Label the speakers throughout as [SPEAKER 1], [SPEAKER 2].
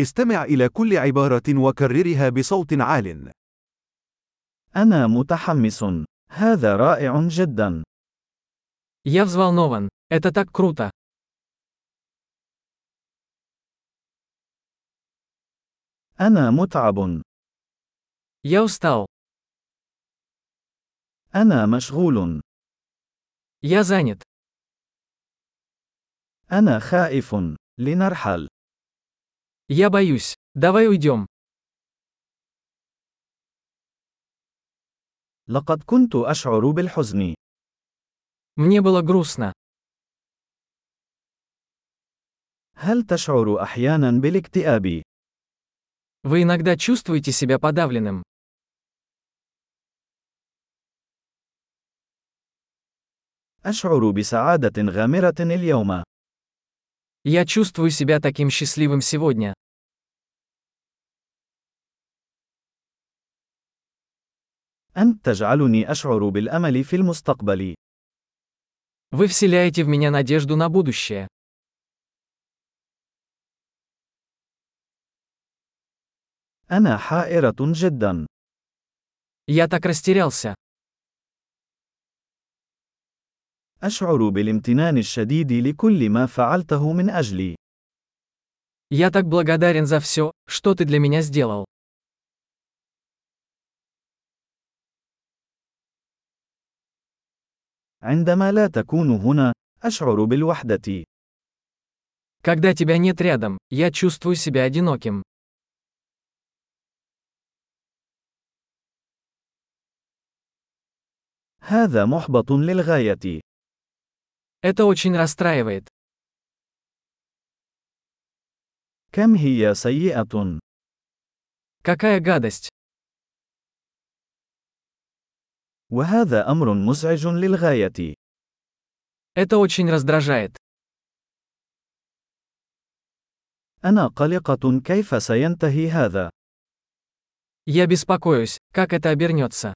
[SPEAKER 1] استمع إلى كل عبارة وكررها بصوت عال.
[SPEAKER 2] أنا متحمس. هذا رائع جدا.
[SPEAKER 3] Я взволнован. Это так круто.
[SPEAKER 2] أنا متعب.
[SPEAKER 3] Я устал.
[SPEAKER 2] أنا مشغول.
[SPEAKER 3] Я занят.
[SPEAKER 2] أنا خائف. لنرحل.
[SPEAKER 3] Я боюсь. Давай уйдем.
[SPEAKER 2] لقد كنت أشعر بالحزن.
[SPEAKER 3] Мне было грустно.
[SPEAKER 2] هل تشعر أحيانا بالاكتئاب؟
[SPEAKER 3] Вы иногда чувствуете себя подавленным.
[SPEAKER 2] أشعر بسعادة غامرة اليوم.
[SPEAKER 3] Я чувствую себя таким счастливым сегодня.
[SPEAKER 2] أنت تجعلني أشعر بالأمل في المستقبل.
[SPEAKER 3] Вы вселяете в меня надежду на будущее.
[SPEAKER 2] أنا حائرة جدا.
[SPEAKER 3] Я так растерялся.
[SPEAKER 2] أشعر بالامتنان الشديد لكل ما فعلته من أجلي.
[SPEAKER 3] Я так благодарен за все, что ты для меня сделал.
[SPEAKER 2] عندما لا تكون هنا، أشعر بالوحدة.
[SPEAKER 3] Когда тебя нет рядом, я чувствую себя одиноким.
[SPEAKER 2] هذا محبط للغاية.
[SPEAKER 3] Это очень расстраивает.
[SPEAKER 2] كم هي سيئة.
[SPEAKER 3] Какая гадость.
[SPEAKER 2] وهذا أمر مزعج للغاية.
[SPEAKER 3] Это очень раздражает.
[SPEAKER 2] أنا قلقة كيف سينتهي هذا.
[SPEAKER 3] Я беспокоюсь, как это обернется.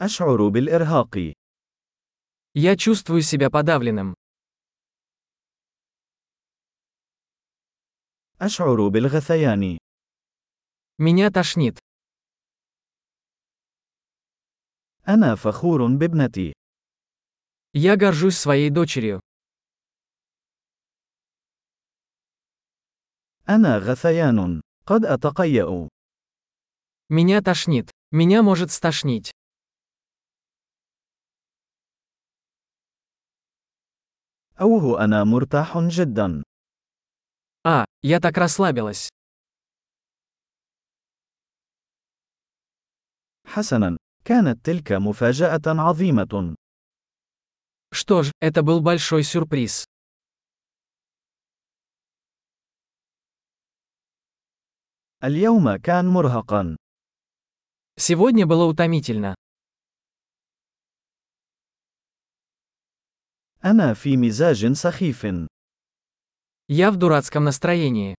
[SPEAKER 2] أشعر بالإرهاق.
[SPEAKER 3] Я чувствую себя подавленным.
[SPEAKER 2] أشعر بالغثيان.
[SPEAKER 3] Меня тошнит.
[SPEAKER 2] أنا فخور بابنتي.
[SPEAKER 3] Я горжусь своей дочерью.
[SPEAKER 2] أنا غثيان. قد أتقيأ.
[SPEAKER 3] Меня тошнит. Меня может стошнить.
[SPEAKER 2] أوه أنا مرتاح جدا.
[SPEAKER 3] А, я так расслабилась.
[SPEAKER 2] حسنا، كانت تلك مفاجأة عظيمة.
[SPEAKER 3] Что ж, это был большой сюрприз.
[SPEAKER 2] اليوم كان مرهقا.
[SPEAKER 3] Сегодня было утомительно.
[SPEAKER 2] أنا في مزاج سخيف.
[SPEAKER 3] Я в дурацком настроении.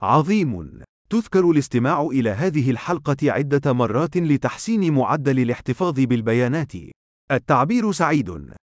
[SPEAKER 1] عظيم. تذكر الاستماع إلى هذه الحلقة عدة مرات لتحسين معدل الاحتفاظ بالبيانات. التعبير سعيد.